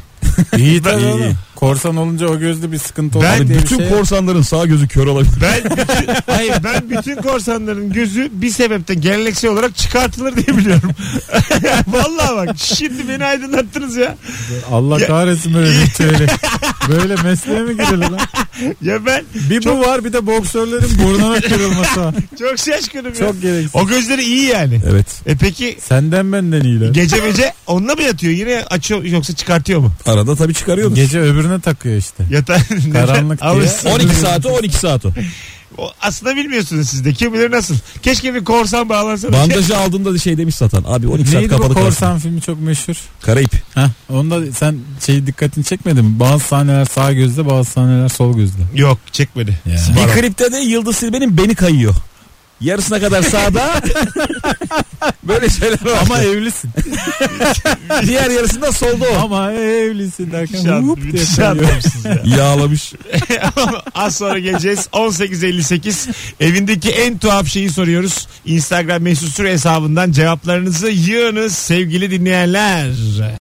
İyi Ben- tabii İyi, oğlum. iyi. Korsan olunca o gözde bir sıkıntı Ben olur Abi diye bütün bir şey. korsanların sağ gözü kör olabilir. Ben bütün, hayır ben bütün korsanların gözü bir sebepten geleneksel olarak çıkartılır diye biliyorum. <laughs> Vallahi bak şimdi beni aydınlattınız ya. Allah Ya- kahretsin böyle <laughs> ritüeli. böyle mesleğe mi girilir lan? Ya ben Bir bu var bir de boksörlerin burnuna kırılması. var. çok şaşkınım ya. Çok gereksiz. O gözleri iyi yani. evet. E peki Senden benden iyiler. gece gece onunla mı yatıyor yine açıyor yoksa çıkartıyor mu? Arada tabii çıkarıyordur. Gece öbürüne takıyor işte. Yatağı <laughs> Karanlık diye. Alışsın. 12 saati 12 <laughs> saati. O- Aslında bilmiyorsunuz siz de kim bilir nasıl. Keşke bir korsan bağlansa. da- Bandajı aldığında da şey demiş satan. Abi 12 saat Neydi bu kapalı kalsın. korsan filmi çok meşhur. Karayip. Heh, onda sen şey dikkatini çekmedin mi? Bazı sahneler sağ gözde bazı sahneler sol gözde. <laughs> Yok çekmedi. Ya. Bir klipte de Yıldız Silbe'nin beni kayıyor. Yarısına kadar <laughs> sağda böyle şeyler var. Ama evlisin. diğer yarısında solda o. Ama evlisin derken Şu an, hup diye müthiş anlamışsınız ya. Yağlamış. Az sonra geleceğiz. <laughs> 18.58 evindeki en tuhaf şeyi soruyoruz. Instagram mesut süre hesabından cevaplarınızı yığınız sevgili dinleyenler.